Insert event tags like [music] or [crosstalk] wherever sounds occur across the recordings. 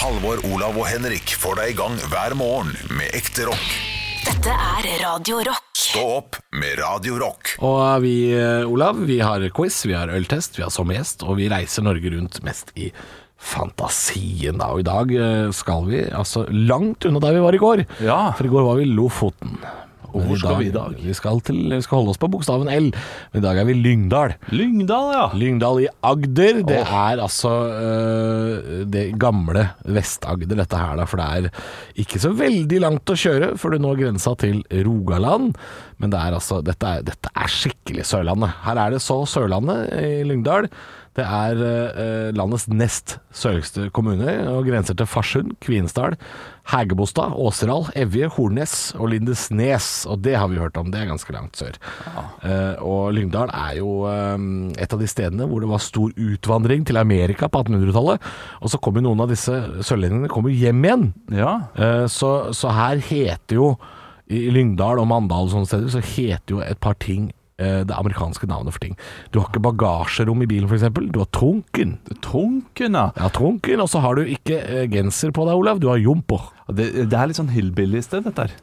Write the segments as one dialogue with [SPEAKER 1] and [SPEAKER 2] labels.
[SPEAKER 1] Halvor, Olav og Henrik får deg i gang hver morgen med ekte rock.
[SPEAKER 2] Dette er Radio Rock.
[SPEAKER 1] Stå opp med Radio Rock.
[SPEAKER 3] Og vi, eh, Olav, vi har quiz, vi har øltest, vi har sommergjest, og vi reiser Norge rundt mest i fantasien. da. Og i dag eh, skal vi altså langt unna der vi var i går.
[SPEAKER 4] Ja.
[SPEAKER 3] For i går var vi i Lofoten. Og
[SPEAKER 4] Hvor skal vi i dag?
[SPEAKER 3] Vi skal, til, vi skal holde oss på bokstaven L, men i dag er vi i Lyngdal.
[SPEAKER 4] Lyngdal, ja.
[SPEAKER 3] Lyngdal i Agder. Det er altså øh, det gamle Vest-Agder, dette her, da. For det er ikke så veldig langt å kjøre før du når grensa til Rogaland. Men det er altså, dette er, dette er skikkelig Sørlandet. Her er det så Sørlandet i Lyngdal. Det er øh, landets nest sørligste kommune og grenser til Farsund, Kvinesdal, Hægebostad, Åseral, Evje, Hornnes og Lindesnes. Og det har vi hørt om, det er ganske langt sør. Eh, og Lyngdal er jo eh, et av de stedene hvor det var stor utvandring til Amerika på 1800-tallet. Og så kom jo noen av disse sørlendingene kom jo hjem igjen.
[SPEAKER 4] Ja.
[SPEAKER 3] Eh, så, så her heter jo i i Lyngdal og Mandal og sånne steder, så heter jo et par ting eh, det amerikanske navnet for ting. Du har ikke bagasjerom i bilen, f.eks. Du har trunken.
[SPEAKER 4] Trunken, ja.
[SPEAKER 3] Ja, trunken, og så har du ikke eh, genser på deg, Olav. Du har jomper.
[SPEAKER 4] Det, det er litt sånn hillbilly-sted, dette her.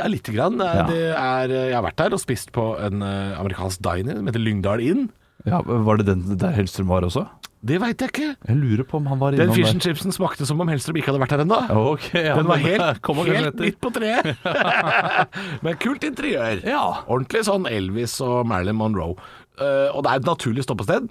[SPEAKER 3] Ja, lite grann. Eh,
[SPEAKER 4] Ja.
[SPEAKER 3] Det er, eh, jeg har vært der og spist på en eh, amerikansk diner som heter Lyngdal Inn.
[SPEAKER 4] Ja, Var det den der Hellstrøm var også?
[SPEAKER 3] Det veit jeg ikke.
[SPEAKER 4] Jeg lurer på om han var
[SPEAKER 3] Den
[SPEAKER 4] innom
[SPEAKER 3] fish and chipsen smakte som om Helstrup ikke hadde vært her ennå.
[SPEAKER 4] der. Ok, ja,
[SPEAKER 3] Den var
[SPEAKER 4] men- [laughs]
[SPEAKER 3] helt,
[SPEAKER 4] Kom og
[SPEAKER 3] helt
[SPEAKER 4] etter.
[SPEAKER 3] midt på treet. [laughs] Men kult interiør.
[SPEAKER 4] Ja.
[SPEAKER 3] Ordentlig sånn Elvis og Marilyn Monroe. Eh, og det er et naturlig stoppested.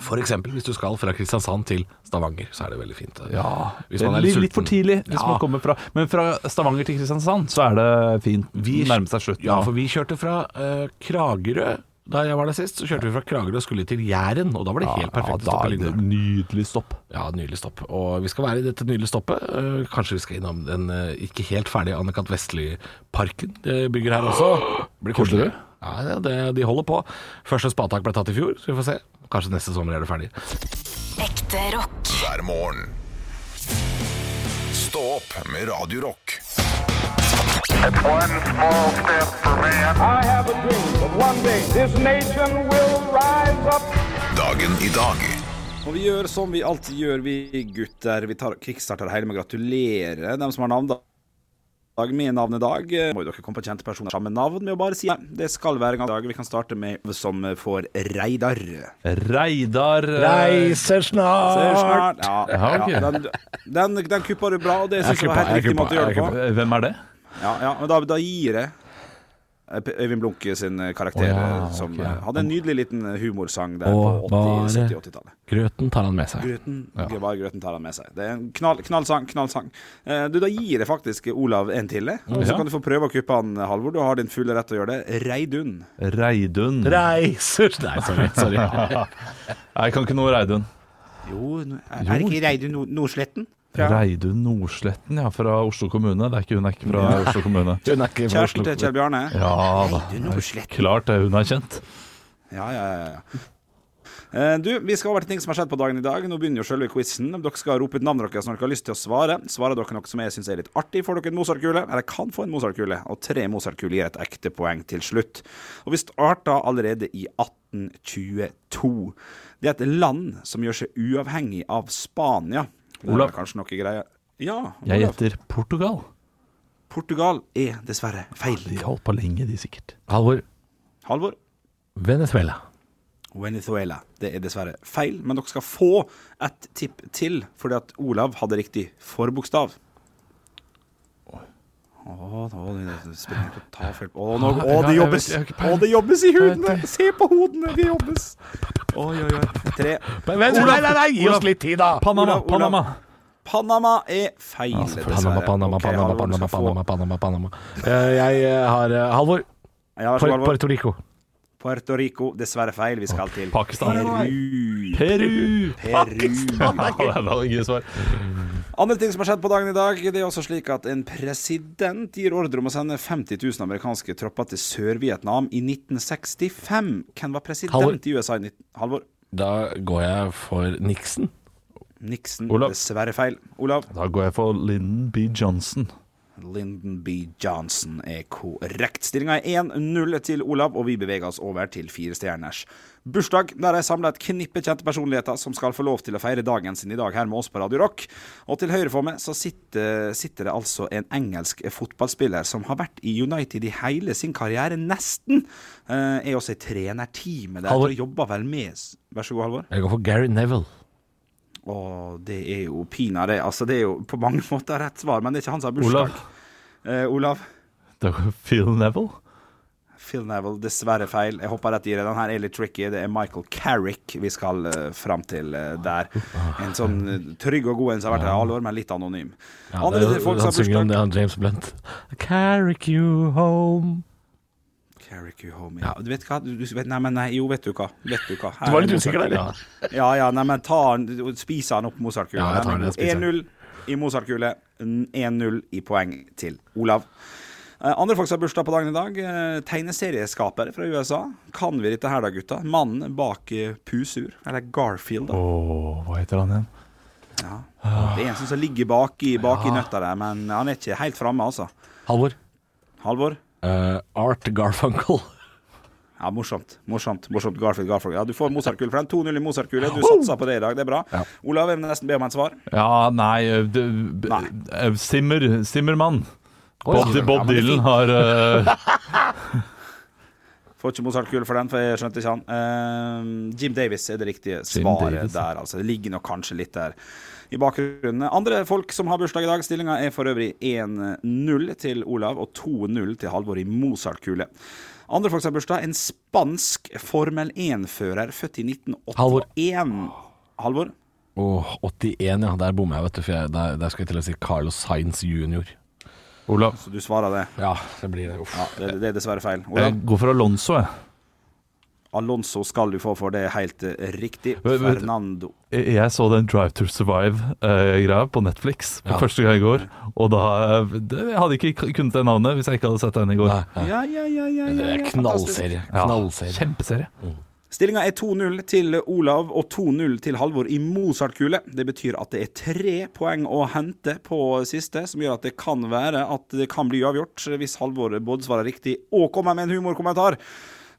[SPEAKER 3] F.eks. hvis du skal fra Kristiansand til Stavanger, så er det veldig fint. eh.
[SPEAKER 4] Ja,
[SPEAKER 3] Hvis man er litt
[SPEAKER 4] litt for
[SPEAKER 3] sulten.
[SPEAKER 4] tidlig hvis
[SPEAKER 3] Ja.
[SPEAKER 4] man kommer fra Men fra Stavanger til Kristiansand, så er det fint.
[SPEAKER 3] Vi-
[SPEAKER 4] Nærmer seg slutten.
[SPEAKER 3] Ja, for vi kjørte fra eh, Kragerø da jeg var der sist. Så kjørte vi fra Kragerø og skulle til Jæren, og da var det helt perfekt. å
[SPEAKER 4] ja,
[SPEAKER 3] stoppe
[SPEAKER 4] da
[SPEAKER 3] i
[SPEAKER 4] er det
[SPEAKER 3] Lyngdal.
[SPEAKER 4] nydelig stopp.
[SPEAKER 3] Ja, nydelig stopp. Og vi skal være i dette nydelige stoppet. Eh, Kanskje vi skal innom den eh, ikke helt ferdige Anne-Kat. Vestli-parken de bygger her også. Blir koselig. Ja, ja det, de holder på. Første spadetak ble tatt i fjor, så vi får se. Kanskje neste sommer er det ferdig.
[SPEAKER 2] Ekte rock.
[SPEAKER 1] Hver morgen. Stå opp med Radio Rock.
[SPEAKER 5] It's one small step for man.
[SPEAKER 6] I have a dream that one day this nation will rise up.
[SPEAKER 1] Dagen i dag.
[SPEAKER 7] Og vi gjør som vi alltid gjør, vi gutter. Vi tar kickstarter hele med å gratulere dem som har navn. da. Dag med navn i dag. Må jo dere komme på kjente personer samme navn med å bare si det. Det skal være en gang i dag. Vi kan starte med som får Reidar.
[SPEAKER 4] Reidar eh,
[SPEAKER 3] Reiser snart!
[SPEAKER 7] Snart. Ja,
[SPEAKER 4] Ja,
[SPEAKER 7] ja,
[SPEAKER 4] ok.
[SPEAKER 7] den, den, den kuppa du bra, og det syns jeg
[SPEAKER 3] kuppa,
[SPEAKER 7] var helt
[SPEAKER 3] jeg
[SPEAKER 7] riktig
[SPEAKER 3] kuppa,
[SPEAKER 7] måte å gjøre
[SPEAKER 3] jeg
[SPEAKER 7] det på.
[SPEAKER 4] Hvem er det?
[SPEAKER 7] Ja, ja, men da, da gir jeg eh, P- Øyvind Blunke sin eh, karakter,
[SPEAKER 3] Å ja,
[SPEAKER 7] eh, som
[SPEAKER 3] ok.
[SPEAKER 7] eh, hadde en nydelig liten humorsang der
[SPEAKER 3] Å,
[SPEAKER 7] på
[SPEAKER 3] bare-
[SPEAKER 7] 70-80-tallet.
[SPEAKER 3] Grøten tar han med seg.
[SPEAKER 7] Grøten, Bare grøten tar han med seg. Det er en knall, knallsang. knallsang Eh, du, Da gir jeg faktisk Olav en til. eh, Og så
[SPEAKER 4] Ja.
[SPEAKER 7] kan du få prøve å kuppe han, Halvor. Du har din fulle rett til å gjøre det. Reidun.
[SPEAKER 4] Reidun. [laughs]
[SPEAKER 3] Reiser Nei, sorry. [laughs] sorry.
[SPEAKER 4] Nei, jeg kan ikke noe Reidun.
[SPEAKER 7] Jo, er, det ikke Reidun Nordsletten?
[SPEAKER 4] Reidun Nordsletten, ja, fra Oslo kommune. Det er ikke, hun er ikke fra Oslo kommune.
[SPEAKER 3] Hun er ikke fra
[SPEAKER 7] Kjæresten
[SPEAKER 3] Oslo.
[SPEAKER 7] til Kjell Bjarne?
[SPEAKER 4] Ja da.
[SPEAKER 7] Reidun Nordsletten.
[SPEAKER 4] Klart det, hun er kjent.
[SPEAKER 7] Ja, ja, ja. ja. Eh, Du, Vi skal over til ting som har skjedd på dagen i dag. Nå begynner jo selve quizen. Dere skal rope ut navnet deres når dere har lyst til å svare. Svarer dere noe som jeg syns er litt artig, får dere en Mozart-kule. Eller kan få en Mozart-kule. Og tre Mozart-kuler gir et ekte poeng til slutt. Og vi starta allerede i 1822. Det er et land som gjør seg uavhengig av Spania. Det er
[SPEAKER 4] Olav.
[SPEAKER 7] Kanskje noe greier. Ja,
[SPEAKER 4] Jeg
[SPEAKER 7] Olav.
[SPEAKER 4] gjetter Portugal.
[SPEAKER 7] Portugal er dessverre feil.
[SPEAKER 4] De holdt på lenge, de sikkert.
[SPEAKER 3] Halvor.
[SPEAKER 7] Halvor.
[SPEAKER 3] Venezuela.
[SPEAKER 7] Venezuela. Det er dessverre feil, men dere skal få et tipp til, fordi at Olav hadde riktig forbokstav. Å, nå er det- det spiller ikke å ta feil på Å, nå- å, det jobbes! Å, det jobbes i hodene! Se på hodene, det jobbes! Oi, oi, oi. Tre.
[SPEAKER 3] Nei, nei, nei, gi oss litt tid, da!
[SPEAKER 4] Panama,
[SPEAKER 7] Olav, Olav.
[SPEAKER 4] Panama.
[SPEAKER 7] Panama er feil,
[SPEAKER 3] Panama,
[SPEAKER 7] dessverre.
[SPEAKER 3] Panama,
[SPEAKER 7] Ok,
[SPEAKER 3] Panama,
[SPEAKER 7] Halvor,
[SPEAKER 3] Panama,
[SPEAKER 7] du skal få-
[SPEAKER 3] Panama, Panama, Panama. Eh, Jeg eh, har eh, Halvor.
[SPEAKER 7] Ja, vær så
[SPEAKER 3] Puer-
[SPEAKER 7] god, Halvor.
[SPEAKER 3] Puerto Rico.
[SPEAKER 7] Puerto Rico, dessverre feil. Vi skal til
[SPEAKER 4] Pakistan.
[SPEAKER 7] Peru.
[SPEAKER 4] Peru.
[SPEAKER 7] Peru.
[SPEAKER 4] Ja, det er da ingen svar.
[SPEAKER 7] Andre ting som har skjedd på dagen i dag, det er også slik at en president gir ordre om å sende 50 000 amerikanske tropper til Sør-Vietnam i 1965. Hvem var president
[SPEAKER 3] Halvor.
[SPEAKER 7] i USA i 19... Halvor?
[SPEAKER 3] Da går jeg for Nixon.
[SPEAKER 7] Nixon.
[SPEAKER 4] Olav.
[SPEAKER 7] Dessverre feil. Olav.
[SPEAKER 4] Da går jeg for Lyndon B. Johnson.
[SPEAKER 7] Lyndon B. Johnson er korrekt. Stillinga er 1-0 til Olav, og vi beveger oss over til firestjerners bursdag, der jeg samla et knippe kjente personligheter som skal få lov til å feire dagen sin i dag her med oss på Radio Rock. Og til høyre for meg så sitter, sitter det altså en engelsk fotballspiller som har vært i United i hele sin karriere, nesten. Eh, er også i trenerteamet der,
[SPEAKER 3] Halvor.
[SPEAKER 7] og jobber vel med s- Vær så god, Halvor.
[SPEAKER 3] Jeg går for Gary Neville.
[SPEAKER 7] Åh, det er jo pinadø. Altså, det er jo på mange [laughs] måter rett svar, men det er ikke han som har bursdag.
[SPEAKER 4] Olav.
[SPEAKER 7] Eh, Olav.
[SPEAKER 4] Det er Phil Neville.
[SPEAKER 7] Phil Neville, dessverre feil. Jeg hopper rett i det. Den her er litt tricky. Det er Michael Carrick vi skal uh, fram til eh, der. En sånn eh, trygg og god en som har vært her i alle år, men litt anonym.
[SPEAKER 3] Ja, det,
[SPEAKER 7] Andre
[SPEAKER 3] er-
[SPEAKER 7] til folk
[SPEAKER 3] han
[SPEAKER 7] som har
[SPEAKER 3] synger om det,
[SPEAKER 7] bursdag.
[SPEAKER 3] han James Blunt. I carry you home.
[SPEAKER 7] Carrick, you homie. Ja, du vet hva? Du, du vet, nei, men nei, jo, vet du hva. Vet du hva? Her
[SPEAKER 3] Du var
[SPEAKER 7] er
[SPEAKER 3] litt
[SPEAKER 7] Mozart.
[SPEAKER 3] usikker der, eller?
[SPEAKER 7] Ja, ja, nei, men ta han, spis han opp Mozartkule.
[SPEAKER 3] Ja, jeg tar den, jeg spiser den.
[SPEAKER 7] 1-0 i Mozartkule, 1-0 i poeng til Olav. Eh, Andre folk som har bursdag på dagen i dag. eh, Tegneserieskapere fra USA. Kan vi dette her da, gutta? Mannen bak eh, Pusur, eller Garfield, da.
[SPEAKER 4] Åh, hva heter han igjen?
[SPEAKER 7] Ja. Det er en som ligger bak i, bak i nøtta der, men han er ikke helt framme, altså.
[SPEAKER 3] Halvor.
[SPEAKER 7] Halvor?
[SPEAKER 3] Eh, Art Garfunkel.
[SPEAKER 7] Ja, morsomt. morsomt, morsomt Garfield, Garfield. Ja, Du får Mozartkule for den. 2-0 i Mozartkule. Du satsa på det i dag, det er bra. Olav, jeg må nesten be om et svar.
[SPEAKER 4] Ja, nei, eh, det, b-
[SPEAKER 7] Nei.
[SPEAKER 4] eh, Simmer, Simmermann.
[SPEAKER 3] Oi,
[SPEAKER 4] Bob, Bob
[SPEAKER 7] men det er
[SPEAKER 4] Dylan
[SPEAKER 7] fint.
[SPEAKER 4] har eh,
[SPEAKER 7] Får ikke Mozart-kule for den, for jeg skjønte ikke han. Ehm, Jim Davis er det riktige
[SPEAKER 4] Jim
[SPEAKER 7] svaret
[SPEAKER 4] Davis, ja.
[SPEAKER 7] der, altså. Det ligger nok kanskje litt der i bakgrunnen. Andre folk som har bursdag i dag. Stillinga er for øvrig 1-0 til Olav og 2-0 til Halvor i Mozart-kule. Andre folk som har bursdag. En spansk Formel 1-fører født i 1981.
[SPEAKER 3] Halvor.
[SPEAKER 7] Halvor?
[SPEAKER 3] Åh, 81, ja. Der bommer jeg, vet du. For jeg, der, der skal jeg til å si Carlos Sainz jr.
[SPEAKER 4] Olav.
[SPEAKER 7] Så du svarer det.
[SPEAKER 3] Ja, det blir det. Uff.
[SPEAKER 7] Ja, det, det er dessverre feil.
[SPEAKER 4] Jeg
[SPEAKER 7] Olav,
[SPEAKER 4] går for Alonso, jeg.
[SPEAKER 7] Alonso skal du få for det er helt eh, riktig.
[SPEAKER 4] Vet- vet-
[SPEAKER 7] Fernando.
[SPEAKER 4] Jeg E, jeg så den Drive to Survive-greia på Netflix for
[SPEAKER 3] Ja.
[SPEAKER 4] første gang i går. Og da eh, det, Jeg hadde ikke k- kunnet det navnet hvis jeg ikke hadde sett den i går.
[SPEAKER 3] Nei, nei.
[SPEAKER 7] Ja, ja, ja,
[SPEAKER 3] Det
[SPEAKER 7] ja, ja,
[SPEAKER 3] er
[SPEAKER 7] ja. fantastisk.
[SPEAKER 3] knallserie.
[SPEAKER 4] Ja,
[SPEAKER 3] Knallserie.
[SPEAKER 4] Kjempeserie.
[SPEAKER 7] Stillinga er 2-0 til Olav og 2-0 til Halvor i Mozart-kule. Det betyr at det er tre poeng å hente på siste, som gjør at det kan være at det kan bli uavgjort hvis Halvor både svarer riktig og kommer med en humorkommentar.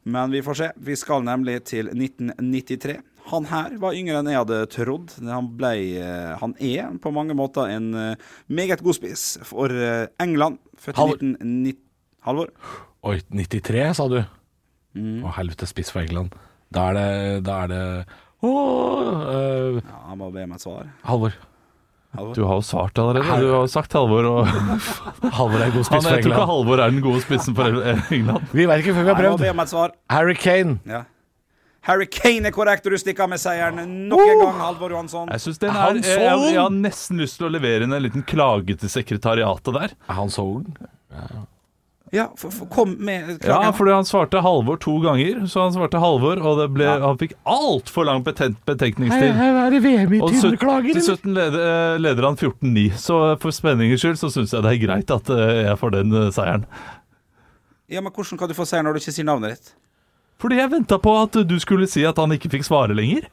[SPEAKER 7] Men vi får se. Vi skal nemlig til 1993. Han her var yngre enn jeg hadde trodd. Han, ble, eh, han er på mange måter en eh, meget god spiss for eh, England. Født i
[SPEAKER 3] Halvor.
[SPEAKER 7] 1990 Halvor? Mm,
[SPEAKER 3] Oi, 93, sa du? Å, helvete, spiss for England. Da er det, da er det Åh, eh,
[SPEAKER 7] Ja, han må be meg et svar.
[SPEAKER 3] Halvor.
[SPEAKER 4] Du har jo svart allerede. Du har jo sagt Halvor. Og
[SPEAKER 3] Halvor er god
[SPEAKER 4] han,
[SPEAKER 3] spiss for
[SPEAKER 4] jeg tror ikke
[SPEAKER 3] England.
[SPEAKER 4] Halvor er den gode spissen for England.
[SPEAKER 3] Vi vet ikke før vi har
[SPEAKER 7] Nei, han må
[SPEAKER 3] prøvd.
[SPEAKER 7] be meg et svar.
[SPEAKER 3] Harry Kane.
[SPEAKER 7] Ja. Harry Kane er korrekt, og du stikker av med seieren nok en gang, Halvor Johansson.
[SPEAKER 4] Jeg synes den
[SPEAKER 3] Er han
[SPEAKER 4] er, jeg,
[SPEAKER 3] så
[SPEAKER 4] jeg, jeg har
[SPEAKER 3] ung?
[SPEAKER 4] nesten lyst til å levere inn en liten klage til sekretariatet der.
[SPEAKER 3] Er han så ung?
[SPEAKER 7] Ja, f f kom med
[SPEAKER 4] Ja,
[SPEAKER 7] klagen.
[SPEAKER 4] fordi han svarte Halvor to ganger, så han svarte Halvor, og det ble, han fikk altfor lang betent, betenkningstid.
[SPEAKER 3] er det VM i
[SPEAKER 4] Og søt- til slutten leder, eh, leder han 14-9, så eh, for spenningens skyld så syns jeg det er greit at eh, jeg får den eh, seieren.
[SPEAKER 7] ja, men hvordan kan du få seier når du ikke sier navnet ditt?
[SPEAKER 4] Fordi jeg venta på at du skulle si at han ikke fikk svare lenger.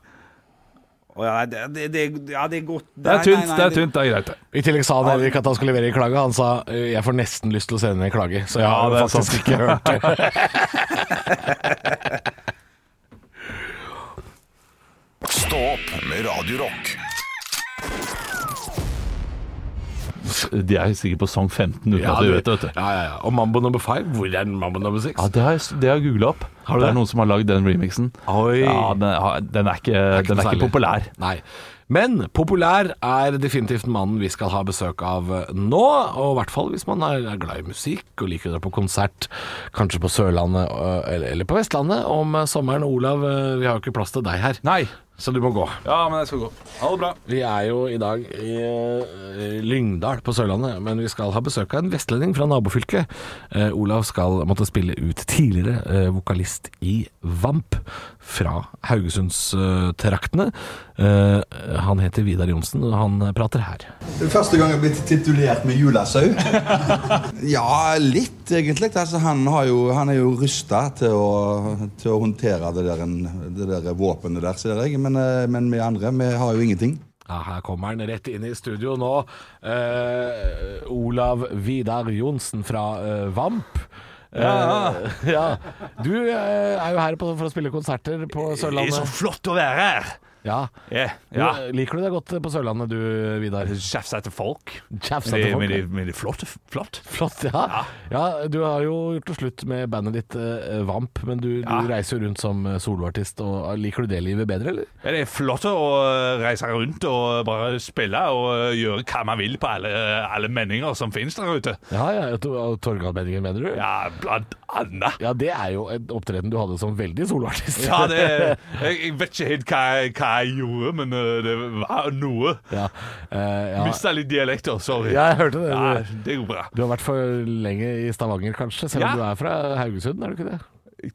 [SPEAKER 7] Å ja, det, det, det, ja, det er godt
[SPEAKER 4] Det er tynt, det er tynt, det er greit. det.
[SPEAKER 3] I tillegg sa han heller ikke at han skulle levere en klage. Han sa «Eh, 'jeg får nesten lyst til å sende en klage', så jeg
[SPEAKER 4] Ja,
[SPEAKER 3] har
[SPEAKER 4] det er
[SPEAKER 3] faktisk
[SPEAKER 4] sant.
[SPEAKER 3] ikke hørt det.
[SPEAKER 1] Stå opp med Radio Rock.
[SPEAKER 4] De er sikkert på sang 15 uten at de vet det, vet du.
[SPEAKER 3] [laughs] ja, ja, ja. Og Mambo number five, hvor er den Mambo number six?
[SPEAKER 4] Ja, Det har jeg, det har jeg googla opp.
[SPEAKER 3] Har du
[SPEAKER 4] det er
[SPEAKER 3] det?
[SPEAKER 4] noen som har lagd den remixen.
[SPEAKER 3] Oi.
[SPEAKER 4] Ja, den, har- den er ikke, den er
[SPEAKER 3] noe
[SPEAKER 4] ikke
[SPEAKER 3] særlig.
[SPEAKER 4] populær.
[SPEAKER 3] Nei. Men populær er definitivt mannen vi skal ha besøk av nå, og i hvert fall hvis man er er glad i musikk og liker å dra på konsert, kanskje på Sørlandet øh, eller eller på Vestlandet om øh, sommeren. Olav, øh, vi har jo ikke plass til deg her,
[SPEAKER 4] Nei.
[SPEAKER 3] så du må gå.
[SPEAKER 4] Ja, men jeg skal gå. Ha det bra.
[SPEAKER 3] Vi er jo i dag i eh, Lyngdal på Sørlandet, men vi skal ha besøk av en vestlending fra nabofylket. Eh, Olav skal måtte spille ut tidligere eh, vokalist i Vamp fra Haugesundstraktene. Eh, han heter Vidar Johnsen, og han prater her.
[SPEAKER 8] Det er første gang jeg har blitt titulert med julasau. ja, litt egentlig. Altså, han, har jo, han er jo rusta til, å- til å håndtere det der, en- det der våpenet der, ser jeg. Men, eh, men vi andre, vi har jo ingenting.
[SPEAKER 3] Ja, her kommer han rett inn i studio nå. Eh, Olav Vidar Johnsen fra eh, Vamp. Eh, [laughs] ja. Du eh, er jo her på, for å spille konserter på Sørlandet.
[SPEAKER 4] flott å være her!
[SPEAKER 3] Ja.
[SPEAKER 4] Ja.
[SPEAKER 3] Du, eh, Liker du deg godt på Sørlandet du, Vidar?
[SPEAKER 4] Sjefsa etter folk.
[SPEAKER 3] Tjafsa til folk. ja.
[SPEAKER 4] men det er flott. flott.
[SPEAKER 3] Flott, ja. ja. Du har jo gjort det slutt med bandet ditt eh, Vamp, men du, du
[SPEAKER 4] Ja.
[SPEAKER 3] reiser jo rundt som eh, soloartist. Og liker du det livet bedre, eller?
[SPEAKER 4] Ja, det er flott å eh, reise rundt og bare spille og eh, gjøre hva man vil på alle, alle meninger som finnes der ute.
[SPEAKER 3] Ja, ja. ja, to- og Torgallmenningen, mener du?
[SPEAKER 4] Ja, blant annet.
[SPEAKER 3] Ja, det er jo en opptreden du hadde som veldig soloartist.
[SPEAKER 4] Ja, det, jeg, jeg vet ikke helt hva jeg, hva jeg gjorde, men eh, det var noe.
[SPEAKER 3] [laughs] Ja, eh, ja.
[SPEAKER 4] Mista litt dialekter, sorry.
[SPEAKER 3] ja jeg hørte det.
[SPEAKER 4] Ja,
[SPEAKER 3] Du-
[SPEAKER 4] det går bra.
[SPEAKER 3] Du har vært for lenge i Stavanger, kanskje, selv om
[SPEAKER 4] Ja.
[SPEAKER 3] du er fra Haugesund, er du ikke det?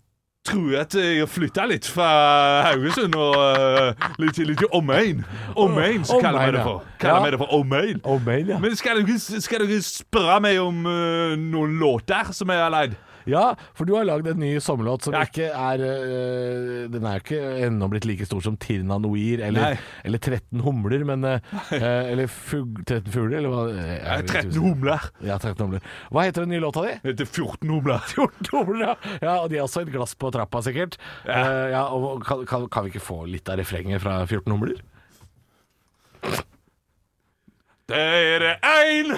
[SPEAKER 4] Tror jeg at eh, jeg flytta litt fra Haugesund og eh, litt, litt i omegn. Omegn, så kaller
[SPEAKER 3] Omegn,
[SPEAKER 4] vi det
[SPEAKER 3] ja.
[SPEAKER 4] for. Kaller
[SPEAKER 3] Ja.
[SPEAKER 4] vi det for omegn.
[SPEAKER 3] Omegn,
[SPEAKER 4] Men skal dere, skal dere spørre meg om eh, noen låter som jeg har leid?
[SPEAKER 3] Ja, for du har lagd en ny sommerlåt som
[SPEAKER 4] Ja.
[SPEAKER 3] ikke er øh, Den er jo ikke ennå blitt like stor som 'Tirna Noir' eller,
[SPEAKER 4] Nei.
[SPEAKER 3] eller '13 humler', men øh, øh, Eller fug, 13 fugler, eller hva? Jeg
[SPEAKER 4] Eh,
[SPEAKER 3] vet ikke.
[SPEAKER 4] 13 humler.
[SPEAKER 3] Ja, 13 humler. Hva heter den nye låta di?
[SPEAKER 4] Det er 14 humler.
[SPEAKER 3] 14 humler, ja. ja. Og de har også et glass på trappa, sikkert. Ja. ja, og kan, kan, kan vi ikke få litt av refrenget fra 14 humler?
[SPEAKER 4] Der er det én,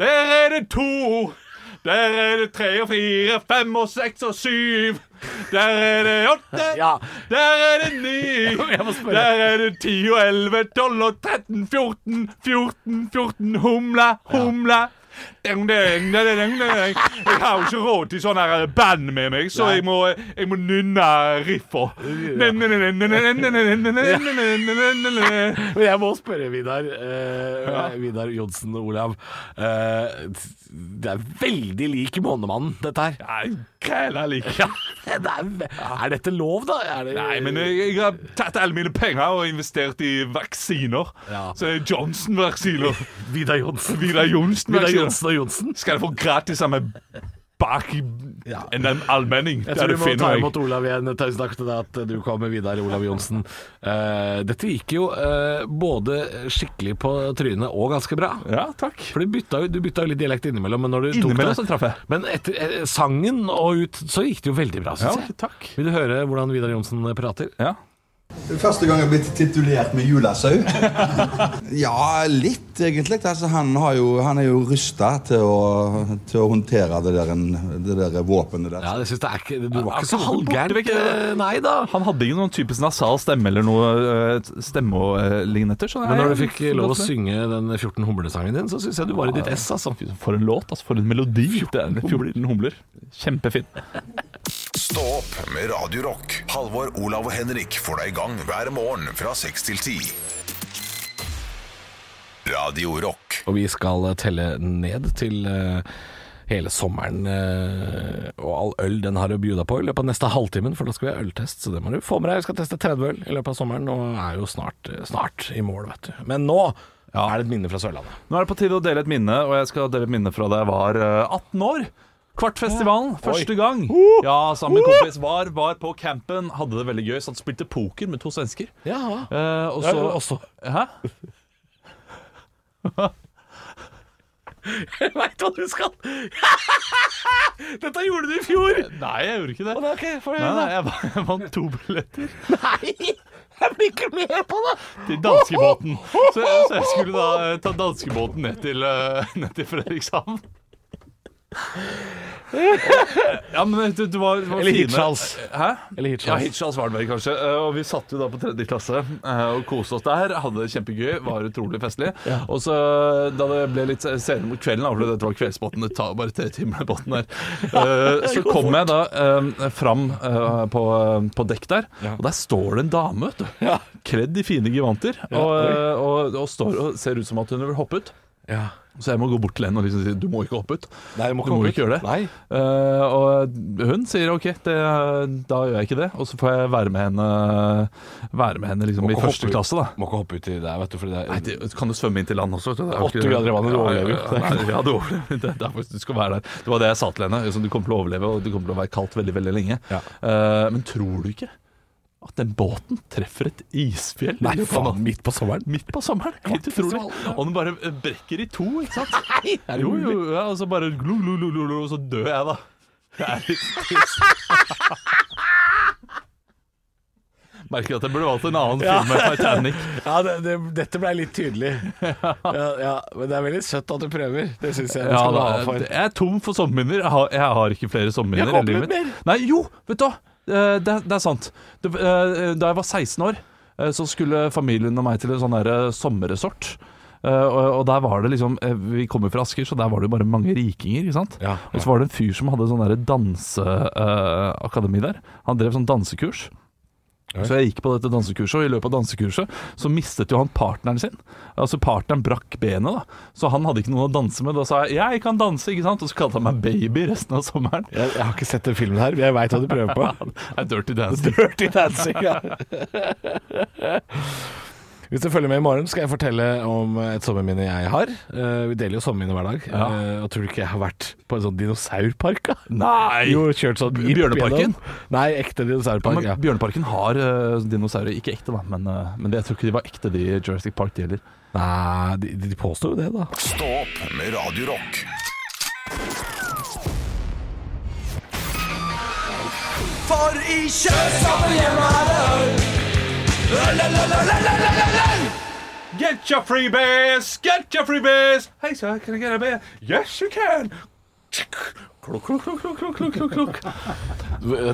[SPEAKER 4] der er det to, der er det tre og fire, fem og seks og syv. Der er det åtte,
[SPEAKER 3] Ja.
[SPEAKER 4] der er det [laughs] ni, der er det ti og elleve, tolv og tretten, fjorten, fjorten, fjorten, humle, humle. Ding, ding, ding, ding, ding, ding. Jeg har jo ikke råd til sånn her band med meg, så jeg må, jeg må nynne riffa.
[SPEAKER 3] Men jeg må spørre, Vidar eh, Vidar Johnsen og Olav. eh, det er veldig lik Månemannen, dette her.
[SPEAKER 4] Nei, kræla like.
[SPEAKER 3] Det er, er dette lov, da? Er det,
[SPEAKER 4] Nei, men eh, jeg, jeg har tatt alle mine penger og investert i vaksiner.
[SPEAKER 3] Ja.
[SPEAKER 4] Så det er Johnson-vaksiner.
[SPEAKER 3] Vidar Johnsen.
[SPEAKER 4] Vidar
[SPEAKER 3] Vidar
[SPEAKER 4] Johnsen-vaksiner.
[SPEAKER 3] Johnsen og Johnsen.
[SPEAKER 4] Skal jeg få gratis av meg bak i
[SPEAKER 3] Ja.
[SPEAKER 4] en en allmenning?
[SPEAKER 3] Jeg
[SPEAKER 4] der
[SPEAKER 3] tror
[SPEAKER 4] du
[SPEAKER 3] vi må ta
[SPEAKER 4] finner
[SPEAKER 3] imot
[SPEAKER 4] meg.
[SPEAKER 3] Olav igjen. Tusen takk til deg at du kom med Vidar Olav Johnsen. Eh, dette gikk jo eh, både skikkelig på trynet og ganske bra.
[SPEAKER 4] Ja, takk.
[SPEAKER 3] For du bytta, jo- du bytta jo litt dialekt innimellom. Men, når du tok
[SPEAKER 4] Innimellom
[SPEAKER 3] det-
[SPEAKER 4] så traff jeg.
[SPEAKER 3] men etter eh, sangen og ut, så gikk det jo veldig bra,
[SPEAKER 4] Ja,
[SPEAKER 3] syns jeg.
[SPEAKER 4] takk.
[SPEAKER 3] Vil du høre hvordan Vidar Johnsen prater?
[SPEAKER 4] Ja.
[SPEAKER 8] Det er Første gang jeg har blitt titulert med julasau. Ja, litt egentlig. Altså, han, har jo, han er jo rusta til, å- til å håndtere det der, det der våpenet der.
[SPEAKER 3] Ja, jeg synes det er ikke, Du var
[SPEAKER 4] Ja,
[SPEAKER 3] ikke så
[SPEAKER 4] altså, han borte
[SPEAKER 3] halvgæren.
[SPEAKER 4] vekk, det-
[SPEAKER 3] eh, Nei da.
[SPEAKER 4] Han hadde ikke noen typisk nasal stemme eller noe eh, stemme og eh, lignetter. så
[SPEAKER 3] Men
[SPEAKER 4] nei,
[SPEAKER 3] når du fikk
[SPEAKER 4] jeg-
[SPEAKER 3] lov å synge den 14 humlesangen din, så syns jeg du var i ditt ess, altså.
[SPEAKER 4] For en låt, altså. For en melodi. 14 humler. 14 humler. Kjempefint.
[SPEAKER 1] Stå opp med Radio Rock. Halvor, Olav og Henrik får deg i gang hver morgen fra 6 til 10. Radio Rock.
[SPEAKER 3] Og vi skal eh, telle ned til eh, hele sommeren eh, og all øl den har å bjuda på i løpet av neste halvtimen, for da skal vi ha øltest, så det må du få med deg. Vi skal teste 30 øl i løpet av sommeren, og er jo snart, eh, snart i mål, vet du. Men nå er det et minne fra Sørlandet.
[SPEAKER 4] Nå er det på tide å dele et minne, og jeg skal dele et minne fra da jeg var eh, 18 år. Kvartfestivalen, første gang. Ja, sammen med en kompis. Var, var på campen, hadde det veldig gøy. Satt og spilte poker med to svensker.
[SPEAKER 3] Ja,
[SPEAKER 4] Eh, og
[SPEAKER 3] så,
[SPEAKER 4] så
[SPEAKER 3] også.
[SPEAKER 4] Hæ?
[SPEAKER 3] [laughs] Jeg veit hva du skal! [laughs] Dette gjorde du i fjor!
[SPEAKER 4] Eh, Nei, jeg gjorde ikke det.
[SPEAKER 3] Ok, får
[SPEAKER 4] Nei, nei, jeg, va- jeg vant to billetter
[SPEAKER 3] Nei! Jeg blir ikke med på det!
[SPEAKER 4] til danskebåten. Så, jeg- så jeg skulle da eh, ta danskebåten ned til, eh, ned til Fredrikshavn. Ja, men det, det var, det var
[SPEAKER 3] Eller
[SPEAKER 4] fine-
[SPEAKER 3] Hirtshals.
[SPEAKER 4] Hæ?
[SPEAKER 3] Eller
[SPEAKER 4] Ja,
[SPEAKER 3] Hitchhals.
[SPEAKER 4] Hitchhals var det vel kanskje. Eh, Og vi satt jo da på tredje klasse eh, og koste oss der. Hadde det kjempegøy, var utrolig festlig. Og så da det ble litt senere mot kvelden, da, for dette var Kveldsbåten, det tar bare tre timer den båten der, Eh, så kom jeg da eh, fram eh, på, på dekk der, og der står det en dame, vet du. Kledd i fine givanter, og, eh, og, og står og ser ut som at hun vil hoppe ut.
[SPEAKER 3] Ja.
[SPEAKER 4] Så jeg må gå bort til henne og liksom si du må ikke hoppe ut.
[SPEAKER 3] Nei, du må
[SPEAKER 4] Du må ikke gjøre det.
[SPEAKER 3] Nei.
[SPEAKER 4] Eh, og hun sier OK, det, da gjør jeg ikke det. Og så får jeg være med henne Være med henne liksom, i
[SPEAKER 3] ikke
[SPEAKER 4] første
[SPEAKER 3] hoppe ut.
[SPEAKER 4] klasse, da.
[SPEAKER 3] Må ikke hoppe uti der, vet du, fordi det er
[SPEAKER 4] Nei, det, kan du svømme inn til land også? vet du? Det er jo
[SPEAKER 3] Åtte
[SPEAKER 4] ikke-
[SPEAKER 3] grader i vannet, du
[SPEAKER 4] Ja,
[SPEAKER 3] overlever jo.
[SPEAKER 4] ja, ja, nei, Ja, du overlever. [laughs] Det er derfor du skal være der. Det var det jeg sa til henne. liksom, Du kommer til å overleve, og det kommer til å være kaldt veldig veldig lenge.
[SPEAKER 3] Ja.
[SPEAKER 4] Eh, men tror du ikke at den båten treffer et isfjell.
[SPEAKER 3] [laughs] Nei,
[SPEAKER 4] i løpet av
[SPEAKER 3] faen,
[SPEAKER 4] natten.
[SPEAKER 3] midt på sommeren?
[SPEAKER 4] Midt på sommeren. Helt utrolig. Og den bare eh, brekker i to, ikke
[SPEAKER 3] [laughs]
[SPEAKER 4] sant?
[SPEAKER 3] er det
[SPEAKER 4] jo, jo, ja, og så bare glu, glu, glu, glu, glu, og så dør jeg, da. Det er litt trist. [laughs] Merker at jeg burde valgt en annen film med
[SPEAKER 3] [laughs]
[SPEAKER 4] Titanic.
[SPEAKER 3] [laughs] Ja, det, det, dette ble litt tydelig.
[SPEAKER 4] [laughs]
[SPEAKER 3] Ja, ja, men det er veldig søtt at du prøver. Det syns jeg du
[SPEAKER 4] Ja,
[SPEAKER 3] skal ha
[SPEAKER 4] da,
[SPEAKER 3] for.
[SPEAKER 4] jeg er tom for sommerminner. Jeg har, jeg har ikke flere
[SPEAKER 3] Jeg
[SPEAKER 4] sommerminner.
[SPEAKER 3] har
[SPEAKER 4] i livet
[SPEAKER 3] opplevd
[SPEAKER 4] mitt. Nei, jo, vet du hva. Eh, Det, er- det er sant. Det, eh, da jeg var 16 år, eh, så skulle familien og meg til en sånn der, eh, sommerresort. Eh, og, og der var det liksom eh, Vi kommer fra Asker, så der var det jo bare mange rikinger. ikke sant?
[SPEAKER 3] Ja,
[SPEAKER 4] Og så var det en fyr som hadde sånn danseakademi der. Han drev sånn dansekurs. Så jeg gikk på dette dansekurset, og i løpet av dansekurset så mistet jo han partneren sin. Altså Partneren brakk benet, da. Så han hadde ikke noen å danse med. Da sa jeg 'jeg kan danse', ikke sant? Og så kalte han meg baby resten av sommeren.
[SPEAKER 3] Jeg, jeg har ikke sett den filmen her, men jeg veit hva du prøver på.
[SPEAKER 4] [laughs]
[SPEAKER 3] [laughs]
[SPEAKER 4] Det er dirty dance.
[SPEAKER 3] Dirty dancing, ja. [laughs] Hvis du følger med i morgen, skal jeg fortelle om et sommerminne jeg har. Eh, vi deler jo sommerminne hver dag.
[SPEAKER 4] Ja.
[SPEAKER 3] Eh, og tror du ikke jeg har vært på en sånn dinosaurpark? da?
[SPEAKER 4] Nei!
[SPEAKER 3] Jo, kjørt sånn jeep
[SPEAKER 4] Bjørneparken?
[SPEAKER 3] gjennom. Nei, ekte
[SPEAKER 4] Ja,
[SPEAKER 3] dinosaurpark.
[SPEAKER 4] men
[SPEAKER 3] Ja,
[SPEAKER 4] Bjørneparken har eh, dinosaurer. Ikke ekte, da, men, eh, men det, jeg tror ikke de var ekte, de i Jurassic Park, de heller.
[SPEAKER 3] Nei, de, de påstår jo det, da.
[SPEAKER 1] Stå opp med Radio Rock.
[SPEAKER 4] Get your freebase! Get your freebase! Hei, sir, can I get a beer? Yes, you can! Klok, klok, klok, klok, klok, klok, klok, klok.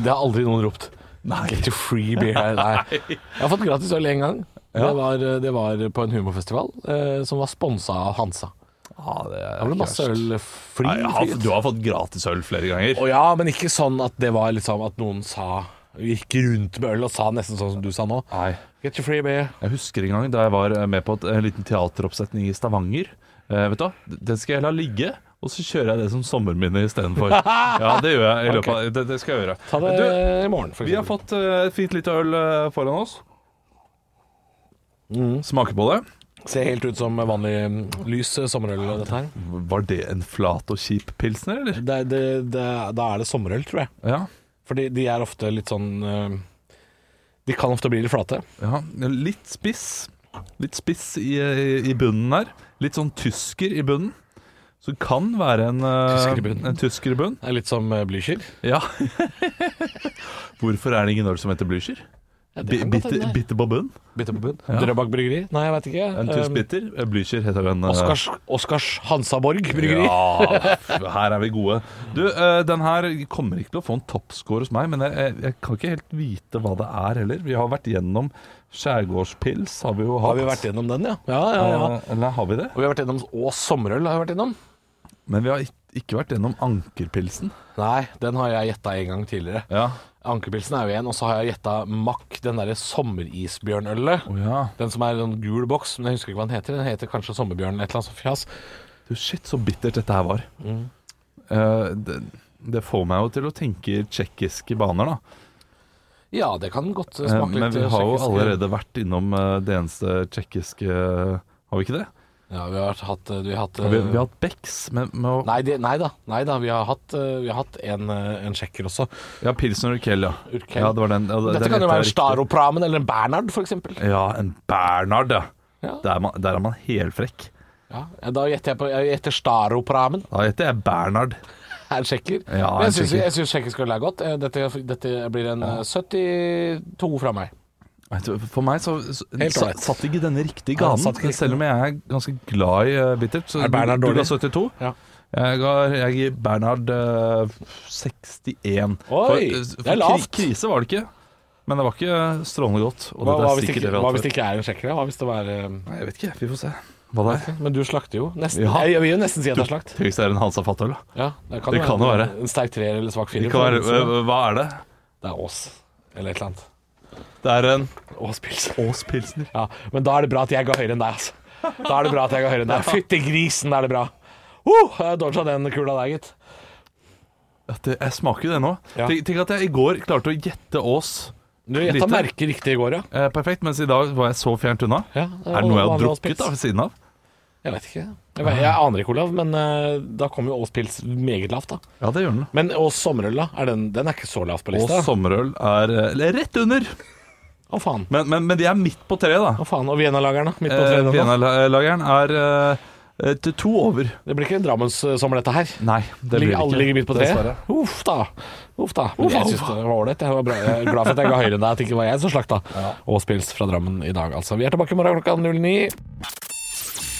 [SPEAKER 3] Det har aldri noen ropt. Nei. Get your free beer. [laughs] Nei. Jeg har fått gratis øl én gang. Det, var, det var på en humorfestival eh, som var sponsa av Hansa.
[SPEAKER 4] Ja, det er
[SPEAKER 3] Det ble masse øl fly.
[SPEAKER 4] Nei, jeg har, du har fått gratis øl flere ganger.
[SPEAKER 3] Å ja, men ikke sånn at det var liksom at noen sa Gikk rundt med øl og sa nesten sånn som du sa nå.
[SPEAKER 4] Nei.
[SPEAKER 3] Get your free beer.
[SPEAKER 4] Jeg husker en gang da jeg var eh, med på et, en liten teateroppsetning i Stavanger. Eh, vet du hva, Den skal jeg la ligge, og så kjører jeg det som sommerminne [laughs] istedenfor. Ja, det gjør jeg. i løpet av det, det skal jeg gjøre.
[SPEAKER 3] Ta det
[SPEAKER 4] Du,
[SPEAKER 3] i morgen, for
[SPEAKER 4] vi har
[SPEAKER 3] eksempel.
[SPEAKER 4] fått eh, et fint lite øl eh, foran oss. Smaker på det.
[SPEAKER 3] Ser helt ut som vanlig mm, lys eh, sommerøl og dette her.
[SPEAKER 4] Var det en flat og kjip pilsner, eller?
[SPEAKER 3] Det, det, det, da er det sommerøl, tror jeg.
[SPEAKER 4] Ja.
[SPEAKER 3] Fordi de er ofte litt sånn eh, De kan ofte bli litt flate.
[SPEAKER 4] ja. Litt spiss. Litt spiss i, i, i bunnen her. Litt sånn tysker i bunnen. Som kan være en, eh,
[SPEAKER 3] Tysker i bunnen.
[SPEAKER 4] en tysker i bunnen.
[SPEAKER 3] Det er litt som eh, Blücher.
[SPEAKER 4] Ja. [laughs] Hvorfor er det ingen øl som heter Blücher?
[SPEAKER 3] Ja, det
[SPEAKER 4] Bi-
[SPEAKER 3] kan godt
[SPEAKER 4] Bitter,
[SPEAKER 3] hende.
[SPEAKER 4] bitter på bunn?
[SPEAKER 3] Bitter på bunn. Drøbak bryggeri? Nei, jeg veit ikke. Eh,
[SPEAKER 4] En tysk bitter? Blücher heter den. eh,
[SPEAKER 3] Oskars, Oskars Hansaborg bryggeri.
[SPEAKER 4] Ja, her er vi gode. Du, eh, den her kommer ikke til å få en toppscore hos meg, men jeg, jeg, jeg kan ikke helt vite hva det er heller. Vi har vært gjennom skjærgårdspils, har vi jo
[SPEAKER 3] Har
[SPEAKER 4] hatt.
[SPEAKER 3] vi vært gjennom den, ja? Ja, ja, ja.
[SPEAKER 4] Eh, Eller har vi det?
[SPEAKER 3] Og vi har vært gjennom Og sommerøl har vi vært gjennom.
[SPEAKER 4] Men vi har ikke, ikke vært gjennom ankerpilsen.
[SPEAKER 3] Nei, den har jeg gjetta en gang tidligere.
[SPEAKER 4] Ja.
[SPEAKER 3] Ankerpilsen er jo en, og så har jeg gjetta Mack, den derre sommerisbjørnølet.
[SPEAKER 4] Å ja.
[SPEAKER 3] Den som er en sånn gul boks, men jeg husker ikke hva den heter. Den heter kanskje Sommerbjørn eller et eller annet sånt fjas.
[SPEAKER 4] Du, shit, så bittert dette her var.
[SPEAKER 3] Mm.
[SPEAKER 4] Eh, det, det får meg jo til å tenke i tsjekkiske baner, da.
[SPEAKER 3] Ja, det kan godt eh,
[SPEAKER 4] Eh,
[SPEAKER 3] smake litt
[SPEAKER 4] Men vi har jo
[SPEAKER 3] tsjekkisk.
[SPEAKER 4] allerede vært innom eh, det eneste tsjekkiske Har vi ikke det?
[SPEAKER 3] Ja, vi har hatt, eh, vi har hatt
[SPEAKER 4] Vi,
[SPEAKER 3] eh,
[SPEAKER 4] vi har hatt Becks, men men-
[SPEAKER 3] Nei, det, nei da, nei da, vi har hatt, eh, vi har hatt en, eh, en sjekker også.
[SPEAKER 4] Ja, Pilsner Urkel, ja.
[SPEAKER 3] Urquell.
[SPEAKER 4] ja det var den, ja, den
[SPEAKER 3] Dette kan
[SPEAKER 4] heter
[SPEAKER 3] jo være en
[SPEAKER 4] riktig.
[SPEAKER 3] Staropramen eller en Bernhard, for eksempel.
[SPEAKER 4] Ja, en Bernhard, ja.
[SPEAKER 3] Ja.
[SPEAKER 4] Der, er man, der er man helfrekk.
[SPEAKER 3] Ja, da gjetter jeg på Jeg gjetter Staropramen. [laughs]
[SPEAKER 4] Da heter jeg Bernhard.
[SPEAKER 3] Er sjekker.
[SPEAKER 4] Ja,
[SPEAKER 3] Men
[SPEAKER 4] en
[SPEAKER 3] jeg syns-
[SPEAKER 4] sjekker.
[SPEAKER 3] jeg syns sjekkisk øl er godt. Eh, Dette, dette blir en eh, 72 fra meg.
[SPEAKER 4] Vet du, For meg så, så
[SPEAKER 3] Helt
[SPEAKER 4] sa-
[SPEAKER 3] ålreit.
[SPEAKER 4] satt ikke denne riktig i
[SPEAKER 3] Ja, den
[SPEAKER 4] ganen.
[SPEAKER 3] satt ikke riktig.
[SPEAKER 4] selv om jeg er ganske glad i eh, bittert. Så
[SPEAKER 3] Er Bernhard
[SPEAKER 4] du, du ga
[SPEAKER 3] dårlig?
[SPEAKER 4] 72.
[SPEAKER 3] Ja.
[SPEAKER 4] Jeg, ga, jeg gir Bernhard eh, 61.
[SPEAKER 3] Oi,
[SPEAKER 4] eh,
[SPEAKER 3] det er lavt.
[SPEAKER 4] Kri, krise var det ikke, men det var ikke strålende godt. Og
[SPEAKER 3] Hva,
[SPEAKER 4] dette er
[SPEAKER 3] hva, hvis det
[SPEAKER 4] sikkert
[SPEAKER 3] ikke,
[SPEAKER 4] relativt-
[SPEAKER 3] hva hvis det ikke er en sjekker? ja? Hva hvis det var eh,
[SPEAKER 4] Nei, Jeg vet ikke, vi får se hva det er.
[SPEAKER 3] Men du slakter jo. Nesten.
[SPEAKER 4] Ja.
[SPEAKER 3] Jeg, jeg vil jo nesten si at det er slakt.
[SPEAKER 4] Tenk hvis det er en Hansa Fatøl, da.
[SPEAKER 3] Ja, det kan,
[SPEAKER 4] Det kan jo være.
[SPEAKER 3] En sterk treer eller svak
[SPEAKER 4] Det
[SPEAKER 3] firer.
[SPEAKER 4] kan
[SPEAKER 3] for å si det.
[SPEAKER 4] være, eh, hva er det?
[SPEAKER 3] Det er Ås eller et eller annet.
[SPEAKER 4] Det er en
[SPEAKER 3] Åspils.
[SPEAKER 4] Ås Pilsner.
[SPEAKER 3] Ja, men da er det bra at jeg ga høyere enn deg, altså. Da er det bra at jeg ga høyere enn
[SPEAKER 4] [laughs]
[SPEAKER 3] deg. Fytti grisen, da er det bra. Uh, jeg dodga den kula der, gitt.
[SPEAKER 4] At det, jeg smaker jo det nå.
[SPEAKER 3] Ja.
[SPEAKER 4] Tenk, tenk at jeg i går klarte å gjette Ås
[SPEAKER 3] Du gjetta
[SPEAKER 4] Lite.
[SPEAKER 3] merket riktig i går, ja.
[SPEAKER 4] eh, perfekt, mens i dag var jeg så fjernt unna.
[SPEAKER 3] Ja,
[SPEAKER 4] er det noe jeg
[SPEAKER 3] og- og
[SPEAKER 4] har
[SPEAKER 3] Åspils.
[SPEAKER 4] drukket da ved siden av?
[SPEAKER 3] Jeg vet ikke. Jeg, vet, jeg aner ikke, Olav, men eh, da kommer jo Ås Pils meget lavt, da.
[SPEAKER 4] Ja, det gjør den.
[SPEAKER 3] Men Ås Sommerøl, da? Er den, den er ikke så lavt på
[SPEAKER 4] Og
[SPEAKER 3] lista.
[SPEAKER 4] sommerøl er eh, rett under.
[SPEAKER 3] Å faen.
[SPEAKER 4] Men, men, men de er midt på treet, da.
[SPEAKER 3] Å faen. Og Vienalageren, da? Midt på
[SPEAKER 4] Eh,
[SPEAKER 3] treet nå?
[SPEAKER 4] Vienna-lageren er eh, til to over.
[SPEAKER 3] Det blir ikke Drammens eh, som dette her?
[SPEAKER 4] Nei, det blir
[SPEAKER 3] Ligger-
[SPEAKER 4] det
[SPEAKER 3] alle
[SPEAKER 4] ikke.
[SPEAKER 3] ligger midt på treet?
[SPEAKER 4] Dessverre.
[SPEAKER 3] Uff da. Uff da. Men jeg synes det var ålreit. Jeg var bra- jeg er glad for at jeg ga høyere enn deg, at det ikke var jeg som slakta. Og spils fra Drammen i dag, altså. Vi er tilbake i morgen klokka 09.